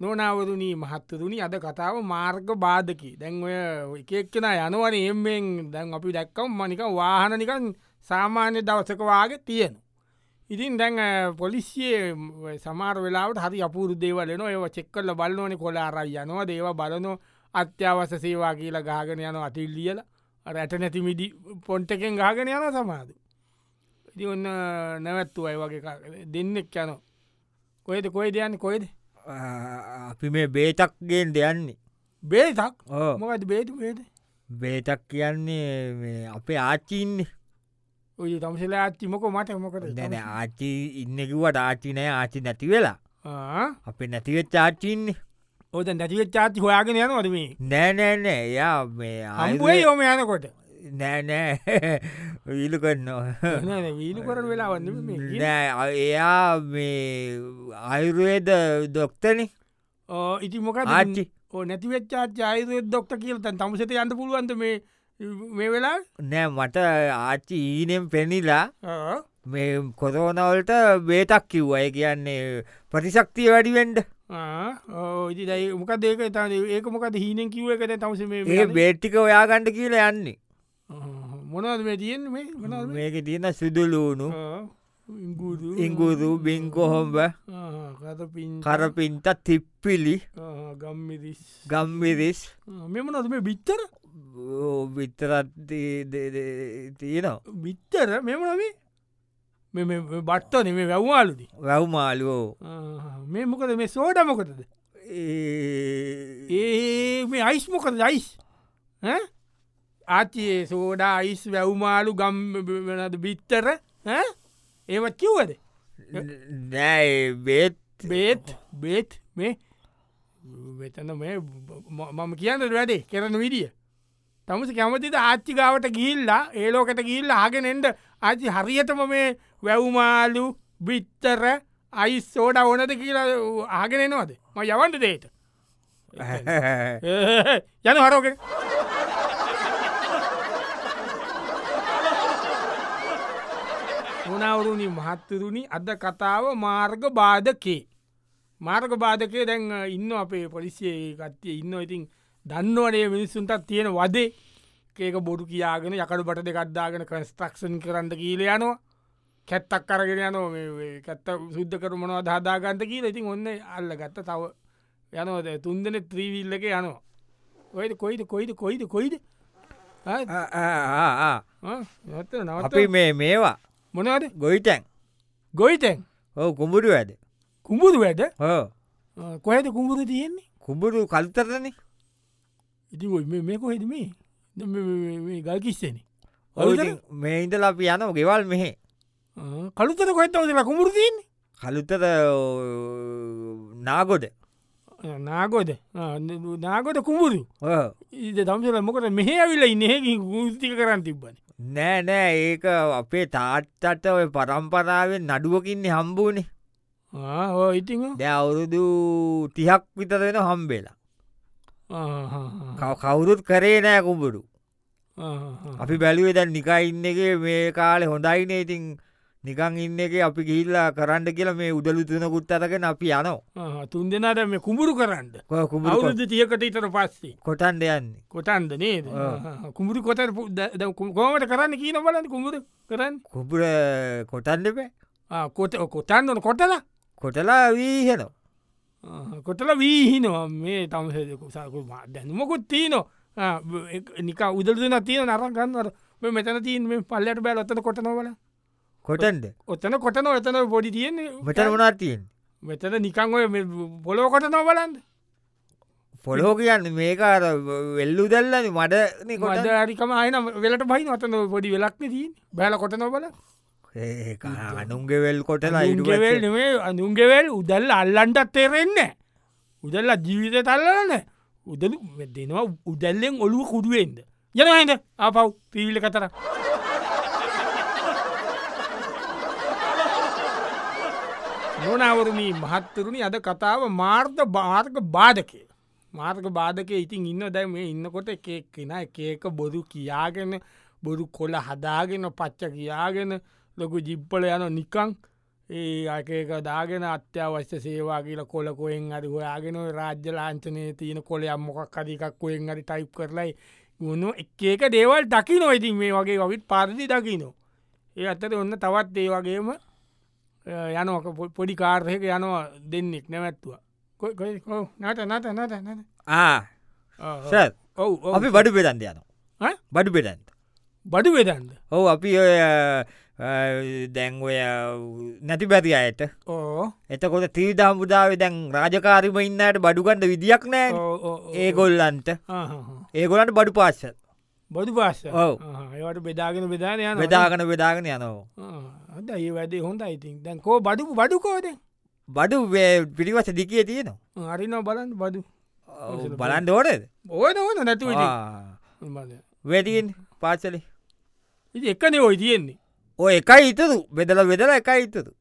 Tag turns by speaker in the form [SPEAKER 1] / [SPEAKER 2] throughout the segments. [SPEAKER 1] නොනවරුණී මහත්තරුණි අද කතාව මාර්ග බාධකි දැන්ඔය එකක්ෙන යනුවන එෙන් දැන් අපි දැක්කම් මනික වාහනනිකන් සාමාන්‍ය දවසකවාගේ තියෙන. ඉතින් දැන් පොලිසියේ සමාර වෙලාට හරි අපපුරු දේවලන ඒව චෙක්කල්ල බලන්නවන කොලාරයි යනවා දේව බලනො අත්‍යවස සේවා කියලා ගාගෙන යන අතිල්ලියල රැට නැතිමිඩි පොන්්ටකෙන් ගාගෙන යන සමාද. ඉති ඔන්න නැවැත්තු අය වගේ දෙන්නෙක් යනවා. කොයිද කොයි දෙයන්න කොයිද
[SPEAKER 2] අපි මේ බේතක්ගෙන් දෙයන්නේ
[SPEAKER 1] බේතක්
[SPEAKER 2] ඕ
[SPEAKER 1] මොකද බේතු බේද
[SPEAKER 2] බේතක් කියන්නේ මේ අපේ ආචින්නේ
[SPEAKER 1] ඔය තමසලා ආච්චි මොක මට මොකද
[SPEAKER 2] දැන ආචි ඉන්නකිවට ආචිනය ආචි නැති වෙලා අපි නැතිවෙත් ආචින්නේ
[SPEAKER 1] ඕත නැතිව චාති හොයාගෙන යනවද මේ
[SPEAKER 2] නෑනෑනෑ එයා මේ
[SPEAKER 1] අම්බුවේ යෝම යනකොට
[SPEAKER 2] නෑනෑ විලු කරනවා
[SPEAKER 1] වීලු කරන වෙලාවන්න මේ
[SPEAKER 2] නෑ එයා මේ අයුරුවේද දොක්තන
[SPEAKER 1] ඕ ඉති මොක
[SPEAKER 2] ආච්චි
[SPEAKER 1] ඕ නැතිවෙච්චාච අයතය දොක්ත කියලතන් තමසට යන්න පුළුවන්ද මේ මේ වෙලා
[SPEAKER 2] නෑ මට ආච්චි ඊනෙම් පෙනිලා මේ කොරෝනවලට බේතක් කිව්වය කියන්නේ ප්‍රතිශක්තිය වැඩිවෙන්ඩ
[SPEAKER 1] ඉති දැයි මොක දේක තන ඒක මොකද හීනෙන් කිව එකට තමස
[SPEAKER 2] ඒ බේට්ටික ඔයාගණ්ඩ කියලා යන්නේ
[SPEAKER 1] මොනවද මේ තියෙන් මේ මොනවද මේ?
[SPEAKER 2] මේක තියෙන සිදුලූුණු
[SPEAKER 1] ආ, ඉංගුරු
[SPEAKER 2] ඉංගුරු බිංකොහොම්බ
[SPEAKER 1] කත පින්
[SPEAKER 2] කරපින්ට තිප්පිලි
[SPEAKER 1] ගම්මිදිස්
[SPEAKER 2] ගම්විරිස්
[SPEAKER 1] මෙම නොද මේ බිත්තර
[SPEAKER 2] විතරත් තියෙනවා
[SPEAKER 1] බිත්තර මෙම නොවේ මෙ බට්ටන මේ වැැව්වාලුදි
[SPEAKER 2] වැව්මාලුවෝ
[SPEAKER 1] මේ මොකද මේ සෝඩ මොකටද ඒ මේ අයිස් මොකද යිස් ආචයේ සෝඩා අයිස් වැැව්මාලු ගම් වෙනද බිත්තර ඈ? ඒවත් කිව්වද
[SPEAKER 2] නෑ බේත්
[SPEAKER 1] බේත් බේත් මේ වෙතන මේ ම- මම කියන්න වැඩේ කරන විඩිය තමස කැමතිද ආච්චිකාවට ගිල්ලා ඒලෝකට ගිල්ල හගෙනෙන්ට ආචි හරියටම මේ වැැව්මාලු බිත්තර අයි සෝඩ ඕනද කියලා ආගෙනනවාද ම යවන්ට දේට යන හරෝක මොනවරුණි මහත්තරුණි අද කතාව මාර්ග බාධකේ මාර්ග බාධකය දැන් ඉන්න අපේ පොලිසිය කත්තිය ඉන්න ඉතින් දන්නවනේ මිනිස්සුන්ටත් තියෙන වදේ ඒක බොඩු කියාගෙන යකඩු බට දෙකක්දාගෙන කස්ටක්ෂන් කරන්න කියීල යනවා කැත්තක් කරගෙන යනෝ කැත්ත සුද්ධ කරමනවා දාදාගන්ත කියීල ඉතින් ඔන්න අල්ල ගත්ත තව යනෝද තුන්දන ත්‍රීවිල්ලක යනවා ඔයිද කොයිද කොයිද කොයිද කොයිද නත
[SPEAKER 2] අපි
[SPEAKER 1] නවත
[SPEAKER 2] මේ මේවා
[SPEAKER 1] මොනවද
[SPEAKER 2] ගොයිටැන්
[SPEAKER 1] ගොයිතැන්
[SPEAKER 2] ඕ කුඹුරු ඇද
[SPEAKER 1] කුඹුරු වැඩ
[SPEAKER 2] හෝ
[SPEAKER 1] කොහද කුඹුරු තියෙන්නේ
[SPEAKER 2] කුඹුරු කල්තරන
[SPEAKER 1] ඉති මේ කොහෙද මේ දැන් මේ- මේ- මේ ගල් කිස්සෙන
[SPEAKER 2] මේ ඉඳල අපි යන ගෙවල් මෙහෙ
[SPEAKER 1] කළුතර කොත්තවදලා කුඹුරු තියන්නේ
[SPEAKER 2] කලුතර නාගොඩ
[SPEAKER 1] නාගොද ආ, න- නාගොද කුඹුරු
[SPEAKER 2] ඕ
[SPEAKER 1] ඉද දම්සල මොකට මෙහ ඇවිල්ල ඉන්නහකි ගෘතික කරන්න තිබ්බන
[SPEAKER 2] නෑ නෑ ඒක අපේ තාත්තට ඔය පරම්පරාවෙන් නඩුවකින්නේ හම්බූනේ
[SPEAKER 1] ඕ ඉතිං
[SPEAKER 2] දැ අවුරුදු තිහක් විතර වෙන හම්බේලා කව- කවුරුත් කරේ නෑ කුඹුරු අපි බැලුවේ දැන් නිකා ඉන්න එක මේ කාලෙ හොඳයිනේ ඉතින් නිකං ඉන්න එක අපි ගිල්ලා කරන්න කියලා මේ උදලු තුනකුත් අරගෙන අපි යනෝ
[SPEAKER 1] තුන් දෙනාට මේ කුඹුරු කරන්න
[SPEAKER 2] කො කුඹුරු
[SPEAKER 1] අවුරුද්ධ තියකට ඉතර පස්සේ
[SPEAKER 2] කොටන්ඩ යන්නේ
[SPEAKER 1] කොටන්ද නේද
[SPEAKER 2] ආ.
[SPEAKER 1] ආ, කුඹුරු කොට කෝමට කරන්න කියන බලන්න කුඹුරු කරන්න
[SPEAKER 2] කුඹුර කොටන්ඩපෑ
[SPEAKER 1] ආ, කොට කොටන්න ඕන කොටලා
[SPEAKER 2] කොටලා වීහෙනෝ
[SPEAKER 1] ආ, කොටල වීහිනවා මේ තමසකුසාකු දැනුමකුත් තියනො නික උදල්දන තියෙන නරන් ගන්නවර මේ මෙතන තියන් මේ පල්ලට බෑල ඔත්තන කොටනවල
[SPEAKER 2] කොටන්ඩ
[SPEAKER 1] ඔත්තන කොටන ඔතන පොඩි තියෙන්නේ
[SPEAKER 2] මටර වනාතියෙන්
[SPEAKER 1] මෙතන නිකං ඔය පොලෝ කොටනව බලන්න
[SPEAKER 2] පොලෝ කියන්න මේකාර වෙල්ලු දැල්ලනි මඩ කොට
[SPEAKER 1] ගොඩ අරිකම අයන වෙලට බයි අතන පොඩි වෙලක්න තිීන් බෑල කොටන බල
[SPEAKER 2] ඒක අනුන්ගේ වෙල් කොටලා
[SPEAKER 1] ගෙවල්
[SPEAKER 2] ඉඩුවල්
[SPEAKER 1] නේ අනුන්ගෙවල් උදල්ල අල්ලන්ටත් තේරෙන්නේ උදල්ල ජීවිත තල්ලන උදලු දෙනවා උදැල්ලෙන් ඔලුව කුඩුවෙන්ද යනහද අපව් ත්‍රීවිල කතර නොනවරණී මහත්තරුණි අද කතාව මාර්ථ භාර්ක බාධකය මාර්ක බාධකය ඉතින් ඉන්න දැ මේ ඉන්නකොට එකෙක් කෙන එකක බොරු කියාගෙන බොරු කොල හදාගෙන පච්ච කියාගෙන ලොකු ජිප්පල යන නිකං ඒ අකක දාගෙන අත්‍යවශ්‍ය සේවා කියලා කොලකොයෙන් අරි හොයාගෙන රාජ්‍ය ලාංචනය තියෙන කොල අම්මොකක් අධිකක්කොයෙන් අරි ටයිප් කරලයි ගුණු එකක දේවල් දකි නොයිතින් මේ වගේ ඔවිත් පරිදි දකිනෝ ඒ අත්තට ඔන්න තවත් ඒ වගේම යනක පොඩි කාර්යක යනවා දෙන්නෙක් නැවැත්තුවා නට නත නත නත
[SPEAKER 2] ආ
[SPEAKER 1] ඔව
[SPEAKER 2] අපි බඩු පෙදන්ද යන
[SPEAKER 1] ඈ?
[SPEAKER 2] බඩු පෙඩන්ට
[SPEAKER 1] බඩු වෙදන්ද
[SPEAKER 2] ඔහු අපි ඔය දැන්ඔය නැති බැති අයට
[SPEAKER 1] ඕ
[SPEAKER 2] එතකොට ත්‍රීදාම්පුදාව දැන් රාජකාරිම ඉන්නට බඩුගන්ඩ විදිියක් නෑ ඒගොල්ලන්ට ඒගොලන්ට බඩු පාස්සල්
[SPEAKER 1] බොදු පාස්ස
[SPEAKER 2] ඔව්.
[SPEAKER 1] ඒවට බෙදාගෙන බෙදාන යන
[SPEAKER 2] වෙදාගන වෙදාගෙන යනවා
[SPEAKER 1] හද ඒ වැඩේ හොඳ ඉතින් දැන් කෝ බඩු බඩුකෝද
[SPEAKER 2] බඩු පිරිවස දිකිය තියෙනවා
[SPEAKER 1] හරිනෝ බලන්න බඩු
[SPEAKER 2] බලන්ඩ ඕනද
[SPEAKER 1] ඕන ඕන නැතුව
[SPEAKER 2] වැඩින් පාසලි
[SPEAKER 1] ඉති එකනේ ඔයි තියෙන්නේ
[SPEAKER 2] ඕ එකයි ඉතුරු බෙදල වෙදල එකයි ඉතුරු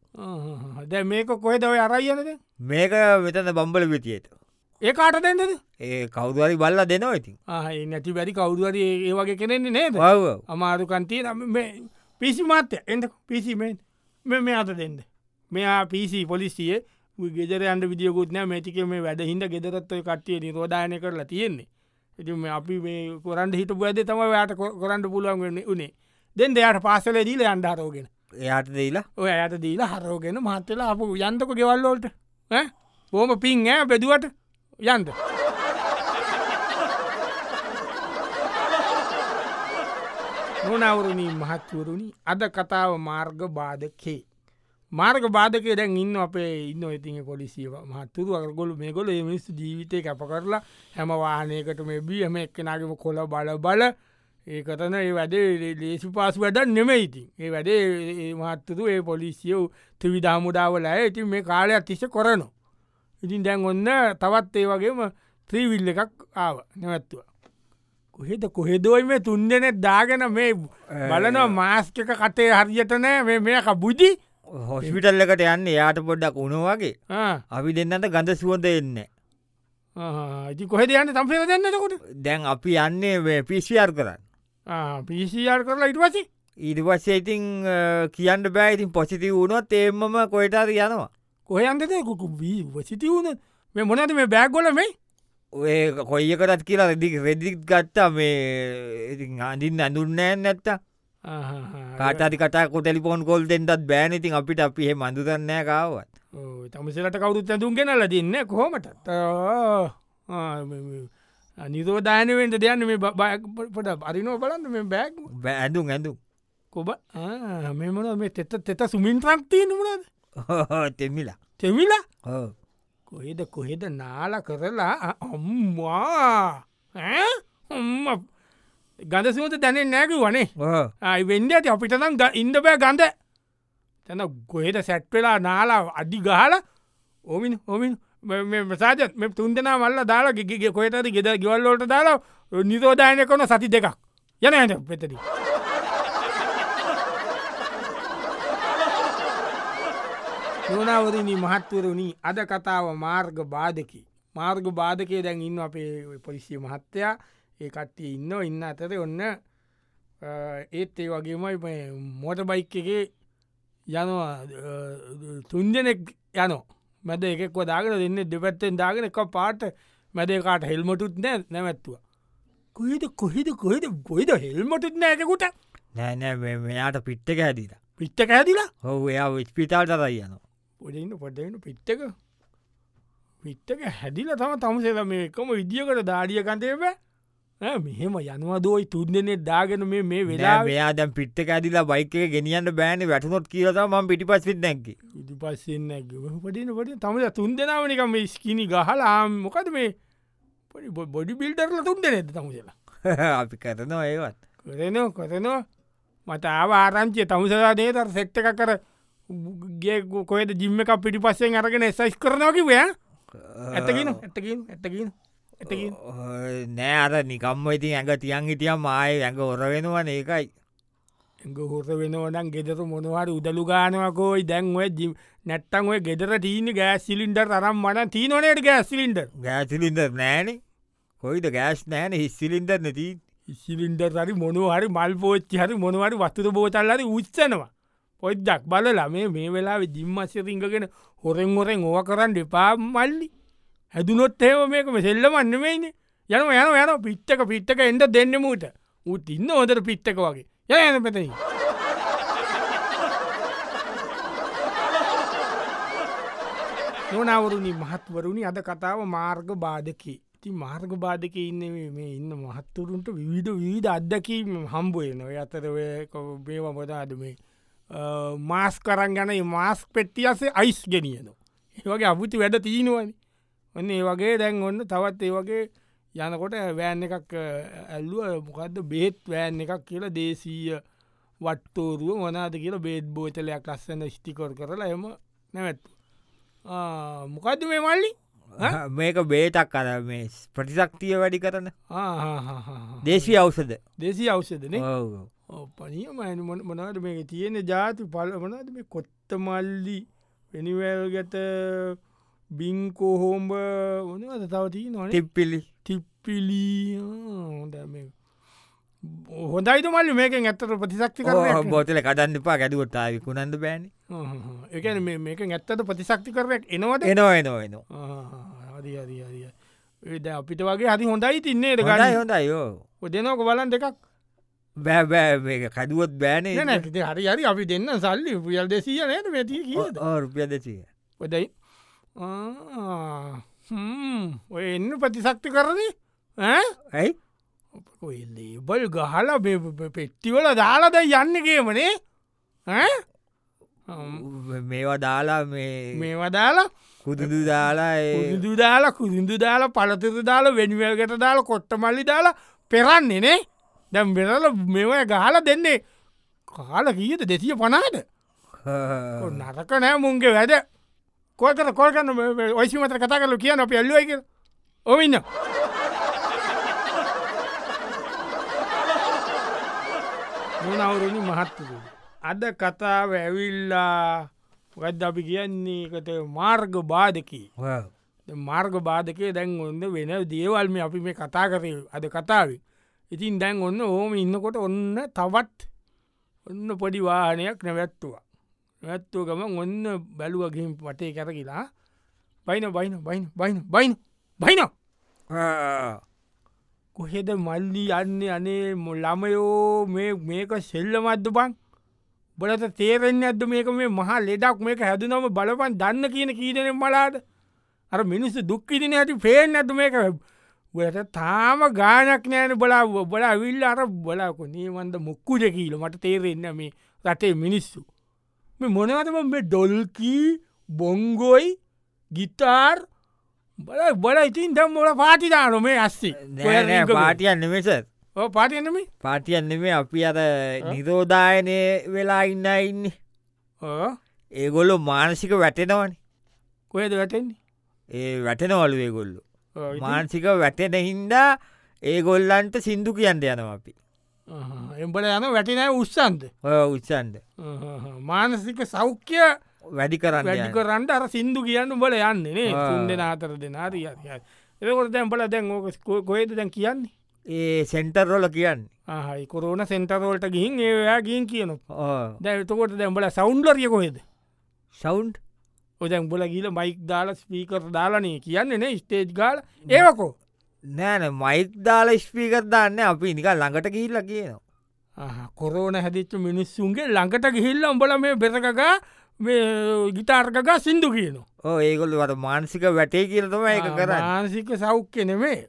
[SPEAKER 1] දැ මේක කොහෙද ඔය අරයියනද
[SPEAKER 2] මේක වෙතන බම්බල විතියට
[SPEAKER 1] ඒ කාට දැන්දද
[SPEAKER 2] ඒ කෞදරි බල්ල දෙනවා ඉතින්
[SPEAKER 1] ආය නැති බැරි කවුරුවර ඒ වගේ කෙනෙන්නේ නේද
[SPEAKER 2] ඔව් ඔව්.
[SPEAKER 1] අමාරුකන්තිය පිසි මාත්‍ය එට පිසිමෙන් මෙ මේ අත දෙන්න මෙයා පිසි පොලිසිය ගෙදරයන්ට විදිියකුත්න මටික මේ වැඩ හිද ගෙදරත්වය කට්ටිය නිරෝධායන කරලා තියෙන්නේ ඉති අපි මේ කොරන්ට හිට පුඇද තම යාට කොරන්ට පුළුවන් වෙන්න උනේ දෙන් දෙයාට පාසල දීල අන්ඩාරෝගෙන
[SPEAKER 2] එයාට දෙලා
[SPEAKER 1] ඔය ඇයට දීලා හරෝගෙන මහත්තලා අප යන්තක ගෙවල්ලෝට බෝම පින් ඇ බෙදුවට යන්ද නොනවරුණී මහත්වරුණි අද කතාව මාර්ග බාධකේ මාර්ග බාධකේ දැන් ඉන්න අපේ ඉන්න ඉතින් පොලිසිව මහත්තුරු අරගොලු මේ ගොල මිනිස් ජීවිතය කැප කරලා හැම වාහනයකට මේ බිය හැම එක්කෙනගම කොල බල බල ඒ කතන ඒ වැඩේ ලේසි පාසු වැඩක් නෙමයිඉතින් ඒ වැඩේ ඒ මහත්තුරු ඒ පොලිසියෝ ත්‍රවිධාමුඩාවල ඇති මේ කාලයක් තිස්ස කරනවා ඉතින් දැන් ඔන්න තවත් ඒ වගේම ත්‍රීවිල්ල එකක් ආව නැවැත්තුව. කොහෙද කොහෙදෝයි මේ තුන්දනෙ දාගෙන මේ බලන මාස්කක කටේ හරියට නෑ මේ මේක බුදි
[SPEAKER 2] හොස්පිටල් එකට යන්න යාට පොඩ්ඩක් උනවාගේ
[SPEAKER 1] ආ,
[SPEAKER 2] අපි දෙන්නට ගඳ සුවඳ එන්න
[SPEAKER 1] ආ, ඉතින් කොහෙද යන්න තම්පේ දෙන්නකොට
[SPEAKER 2] දැන් අපි යන්නේ පිසිර් කරන්න
[SPEAKER 1] පිසිR කරලා ඉටවසි
[SPEAKER 2] ඊට පස්සේ ඉතින් අ, කියන්න බෑ ඉතින් පොසිති වුණොත් ඒමම කොයිටර යනවා
[SPEAKER 1] කොහයන්දද කුකු සිටි වුණ මේ මොනද මේ බෑගොල මේ
[SPEAKER 2] ඔය කොයි කරත් කියලා රෙදි රෙදික් ගත්තා මේ ඉතින් අඳින් අඳුන්නෑ නැත්ත කාටරි කටා කොටෙලිපොන් කොල් දෙෙන්ටත් බෑන ඉතින් අපිට අපි ඒ මඳුදන්නෑ කාවත්
[SPEAKER 1] තමසලට කවුරුත් ඇඳුම් ගෙනල දෙන්න කොහොමට නිරෝධායනවෙන්ට දෙයන්න මේ බපට අරිනෝ බලන්න මේ බෑග්
[SPEAKER 2] බෑ ඇඳුම් ඇඳුම්
[SPEAKER 1] කොබ මෙමන මේ තෙත තෙත සුමින්ත්‍රක්තිය නමුණද
[SPEAKER 2] තෙමිලා
[SPEAKER 1] තෙවිලා
[SPEAKER 2] ඔව්.
[SPEAKER 1] කොහෙද කොහෙද නාල කරලා අ- අම්මා ඈ? අම්ම ගඳ සුවත දැනෙන් නෑකි වනේ
[SPEAKER 2] ඔව්.
[SPEAKER 1] අයි වෙන්ඩ ඇති අපිට නම් ග- ඉන්ඩ බෑ ගඳ තැන ගොහෙද සැට්වෙලා නාලා අඩි ගහල ඕමින් හොමින් මසාජත් මෙ තුන්දනා මල්ල දාලා ගිගේ කොහෙතද ගෙද ගවල්ලෝට දාලා නිරෝධායන කොන සති දෙකක් යන ඇට පෙතට යෝනාවරණී මහත්වරුණී අද කතාව මාර්ග බාධකි මාර්ග බාධකය දැන් ඉන්න අපේ ඔය පොලිසිය මහත්තයා ඒ කට්ටිය ඉන්න ඉන්න අතර ඔන්න අ, ඒත් ඒ වගේමයි මේ මෝට බයික් එක යනවා තුන්ජනෙක් යනෝ මැද එකක් වදාගෙන දෙන්න දෙපැත්තෙන් දාගෙන එක පාට මැදකාට හෙල්මටුත් නෑ නැවැත්තුව කොහෙද කොහෙද කොහෙද ගොයිද හෙල්මටුත් නෑකකුට
[SPEAKER 2] නෑ නෑ මේ- මෙයාට පිට්ටක ඇදීලා
[SPEAKER 1] පිච්ච කෑදිලා
[SPEAKER 2] හෝ එයා විස්්පිටාල් තරයි යනවා
[SPEAKER 1] පොඩන්න පොටන්න පිත්තක පිත්තක හැදිල තම තමසේල මේ එකම විදිියකට දාඩියකන්තේව මෙහෙම යනවා දෝයි තුන්දනෙ දාගෙන මේ මේ වෙලා
[SPEAKER 2] නෑ, මෙයා දැම් පිට්ටක ඇදිලා බයික ගෙනියන්න බෑන වැටනොත් කියලා ම පිටි පස්සිත් නැකි
[SPEAKER 1] ඉදි පස්සෙන්න පටින පට තම තුන් දෙනාවනික මේ ස්කිනි ගහලාම් මොකද මේ පොඩි බො- බොඩි බිල්ටරල තුන් දෙනෙද තමසලා
[SPEAKER 2] අපි කරනවා ඒවත්
[SPEAKER 1] කරනවා කොතනවා මත ආවාරංචය තමසලා දේතර සෙට්ට කර ගේ කොයට ජිම්ම එකක් පිටි පස්සෙන් අරගෙන එසයිස් කරනවකි වය ඇතකින ඇතකින් ඇතකින් ඇතකින්
[SPEAKER 2] ඔය නෑ අර නිකම්ම ඉතින් ඇඟ තියන් හිටියම් ආය ඇඟ ඔර වෙනවා ඒකයි
[SPEAKER 1] ගොහොර වෙනවනම් ගෙදර මොනවාට උදළු ගානවකෝයි දැන් ඔය ජි නැත්තන් ඔය ගෙදර ටීන ගෑස් සිලින්ඩර් තරම් වන තිීනොනයට ගෑස් සිලින්ඩර්
[SPEAKER 2] ගෑසිලින්දර් නෑන කොයිද ගෑස් නෑන හිස්සිලින්දර් නැති
[SPEAKER 1] සිලින්ඩර් හරි මොනහරි මල් පෝච්චි හරි මොනවට වස්තුත බෝතල්ලද උච්චනවා ඔයි දක් බලලා මේ මේ වෙලාවෙ දිම්මස්සිරිංගගෙන හොරෙන් හොරෙන් ඕව කරන්න එපා මල්ලි හැදුනොත් ඒව මේක මෙසෙල්ල මන්නමයින යන යන යන පිත්තක පිත්තක එන්ට දෙන්න මූට උත් ඉන්න හොදර පිත්තක වගේ ය යන පෙතයි නොනවරුණි මහත්වරුණි අද කතාව මාර්ග බාධකේ ති මාර්ග බාධක ඉන්න මේ ඉන්න මහත්තුරුන්ට විවිධ විධ අත්දකීම හම්බුවන ඔය අතර බේවමොදාද මේ මාස් කරන් ගැන මාස් පෙට්ටියසේ අයිස් ගෙනියනවා. ඒවගේ අබුති වැඩ තියෙනවනි ඔන්න ඒ වගේ දැන් ඔන්න තවත් ඒ වගේ යනකොට වෑන් එකක් ඇල්ලුව මොකක්ද බේත් වෑන් එකක් කියලා දේශීය වට්ටෝරුව මොනාද කියලා බේත් බෝතලයක් ලස්සන්න ෂ්ටිකොර කරලා එම නැවැත්තු. මොකක්ද මේ මල්ලි
[SPEAKER 2] මේක බේතක් කර මේ ප්‍රතිශක්තිය වැඩි කරන දේශී අවසද
[SPEAKER 1] දෙසි අවසදන පනියම මොනට මේ තියෙන ජාති පලමනද මේ කොත්ත මල්ලි වෙනිවැල්ගත බිංකෝ හෝම්බ ඕනද තවතිී නොන
[SPEAKER 2] ටිප්පිලි
[SPEAKER 1] තිප්පිලි හොඳයිතු මල්ලි මේක ඇත්තට ප්‍රතිශක්ති කර
[SPEAKER 2] බෝතල කඩන්න එපා ගැඩුවටාව කුණන්ද බෑන
[SPEAKER 1] එක මේක ඇත්තට ප්‍රතිශක්ති කරයක් එනවට
[SPEAKER 2] එනවා එනවා එනවා
[SPEAKER 1] හරිරිය ඒද අපිට වගේ හරි හොඳයි තින්නේ
[SPEAKER 2] ගඩයි
[SPEAKER 1] ගඩ
[SPEAKER 2] හොඳයිෝ
[SPEAKER 1] දෙනෝක බලන් දෙකක්
[SPEAKER 2] බෑබෑ මේක කඩුවත් බෑනේ
[SPEAKER 1] නැ හරි හරි අපි දෙන්න සල්ලි පුියල් දෙසිය නට වැති කියද
[SPEAKER 2] ඕ රුපිය දෙසිය
[SPEAKER 1] පොදයි ඔය එන්න ප්‍රතිශක්ති කරදේ ඇ
[SPEAKER 2] ඇයි
[SPEAKER 1] ඔය ලේබල් ගහල පෙට්ටිවල දාලද යන්නගේමනේ
[SPEAKER 2] මේවා දාලා මේ
[SPEAKER 1] මේ වදාලා
[SPEAKER 2] කුදුදු දාලා ඒ
[SPEAKER 1] කුරුදු දාලා කුරුදු දාලා පලතුර දාලා වෙනිවල්ගට දාලා කොට්ට මල්ලි දාලා පෙරන්නේනේ දැම් බෙරල මෙවය ගහල දෙන්නේ කාල කීත දෙතිය පනාට නරක නෑ මුන්ගේ වැඩ කොල්කර කොල්ගන්න ඔයිසිමත කතා කරලු කියන අප එල්ලුවක ඔවින්න මොනවුරුණි මහත්තුරු අද කතාව ඇවිල්ලා වැද අපි කියන්නේ එකත මාර්ග බාධකී
[SPEAKER 2] ඔව්.
[SPEAKER 1] දැන් මාර්ග බාධකය දැන් ඔන්න වෙන දේවල්ම අපි මේ කතා කරේ අද කතාවේ ඉතින් දැන් ඔන්න ඕම ඉන්නකොට ඔන්න තවත් ඔන්න පොඩි වාහනයක් නැවැත්තුවා නැත්තුව ගම ඔන්න බැලුවගින් වටේ කැරකිලා බයින බයින බයින බයින බයින බයින
[SPEAKER 2] ආ.
[SPEAKER 1] කොහෙද මල්ලි යන්නේ අනේ මො- ළමයෝ මේ- මේක සෙල්ල මද්ද බන් බලට තේරෙන් ඇද මේක මේ මහා ලෙඩක් මේක හැදනම බලපන් දන්න කියන කීදන මලාද අර මිනිස්ස දුක්කිදින ඇති පේෙන් ඇතු මේක ට තාම ගානක් නෑන බලා බල විල් අර බලාකො නේවන්ද මුක්කුජ කියීල මට තේරෙන්න මේ රටේ මිනිස්සු මේ මොනවතම මේ ඩොල්කී බොංගොයි ගිතාර් බල බල ඉතින් දම් මොල පාටිදාන මේ අස්සේ
[SPEAKER 2] නෑ නෑ පාටියන් නෙමෙස
[SPEAKER 1] පාටයනම
[SPEAKER 2] පාටියන් නෙමේ අපි අර නිරෝධායනය වෙලා ඉන්න ඉන්න ඒගොල්ලො මානසික වැටෙනවන
[SPEAKER 1] කොයද වැටෙන්නේ
[SPEAKER 2] ඒ වැටෙනවලු ඒගොල්ලු
[SPEAKER 1] ඔව් ඉතින්.
[SPEAKER 2] මානසික වැටෙන හින්දා ඒගොල්ලන්ට සින්දු කියන්ට යනවා අපි
[SPEAKER 1] ආහ්. එම්බල යන වැටිනෑ උත්සන්ද
[SPEAKER 2] ඔය උත්සන්ද
[SPEAKER 1] මානසික සෞඛ්‍ය
[SPEAKER 2] වැඩි කරන්න
[SPEAKER 1] වැඩි
[SPEAKER 2] යන්න.
[SPEAKER 1] කරන්න අර සින්දු කියන්න බල යන්නේනේ
[SPEAKER 2] ආ.
[SPEAKER 1] තුන් දෙෙන අතර දෙෙන රී එකොට දැම්බල දැන් ඕක කොයද දැන් කියන්නේ
[SPEAKER 2] ඒ සෙන්ටර්රොල කියන්න
[SPEAKER 1] ආහයි කොරෝන සෙන්ටරෝල්ට ගිහින් ඒයා ගින් කියන
[SPEAKER 2] ඕ
[SPEAKER 1] දැතකොට දැම්බල සෞන්්ලරිය කොහෙද
[SPEAKER 2] සෞන්්
[SPEAKER 1] ඔදැන් බොල ගීල මයික් දාල ස්පීකර දාලනේ කියන්නේ නේ ස්ටේජ් ගාල ඒවකෝ
[SPEAKER 2] නෑන මයික් දාල ස්පීකර දාන්න අපි නික ළඟට ගිල්ල කියනවා
[SPEAKER 1] ආහ්. කොරෝන හැදිච්ච මිනිස්සුන්ගේ ළඟට ගිහිල්ල උඹල මේ බෙරකගා මේ ගිතාර්කගා සින්දු කියනවා
[SPEAKER 2] ඕ ඒගොල්ල වට මානසික වැටේ කියලතම ඒක කරන්න
[SPEAKER 1] මානසික සෞඛ්‍ය නෙමේ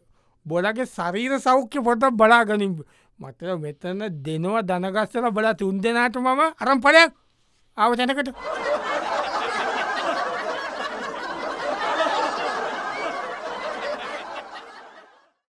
[SPEAKER 1] බොලගේ සරීර සෞඛ්‍ය පොට බලාගනින් මතර මෙතන දෙනවා දනගස්සල බල තුන් දෙනාට මම අරම් පලයක් ආව තැනකට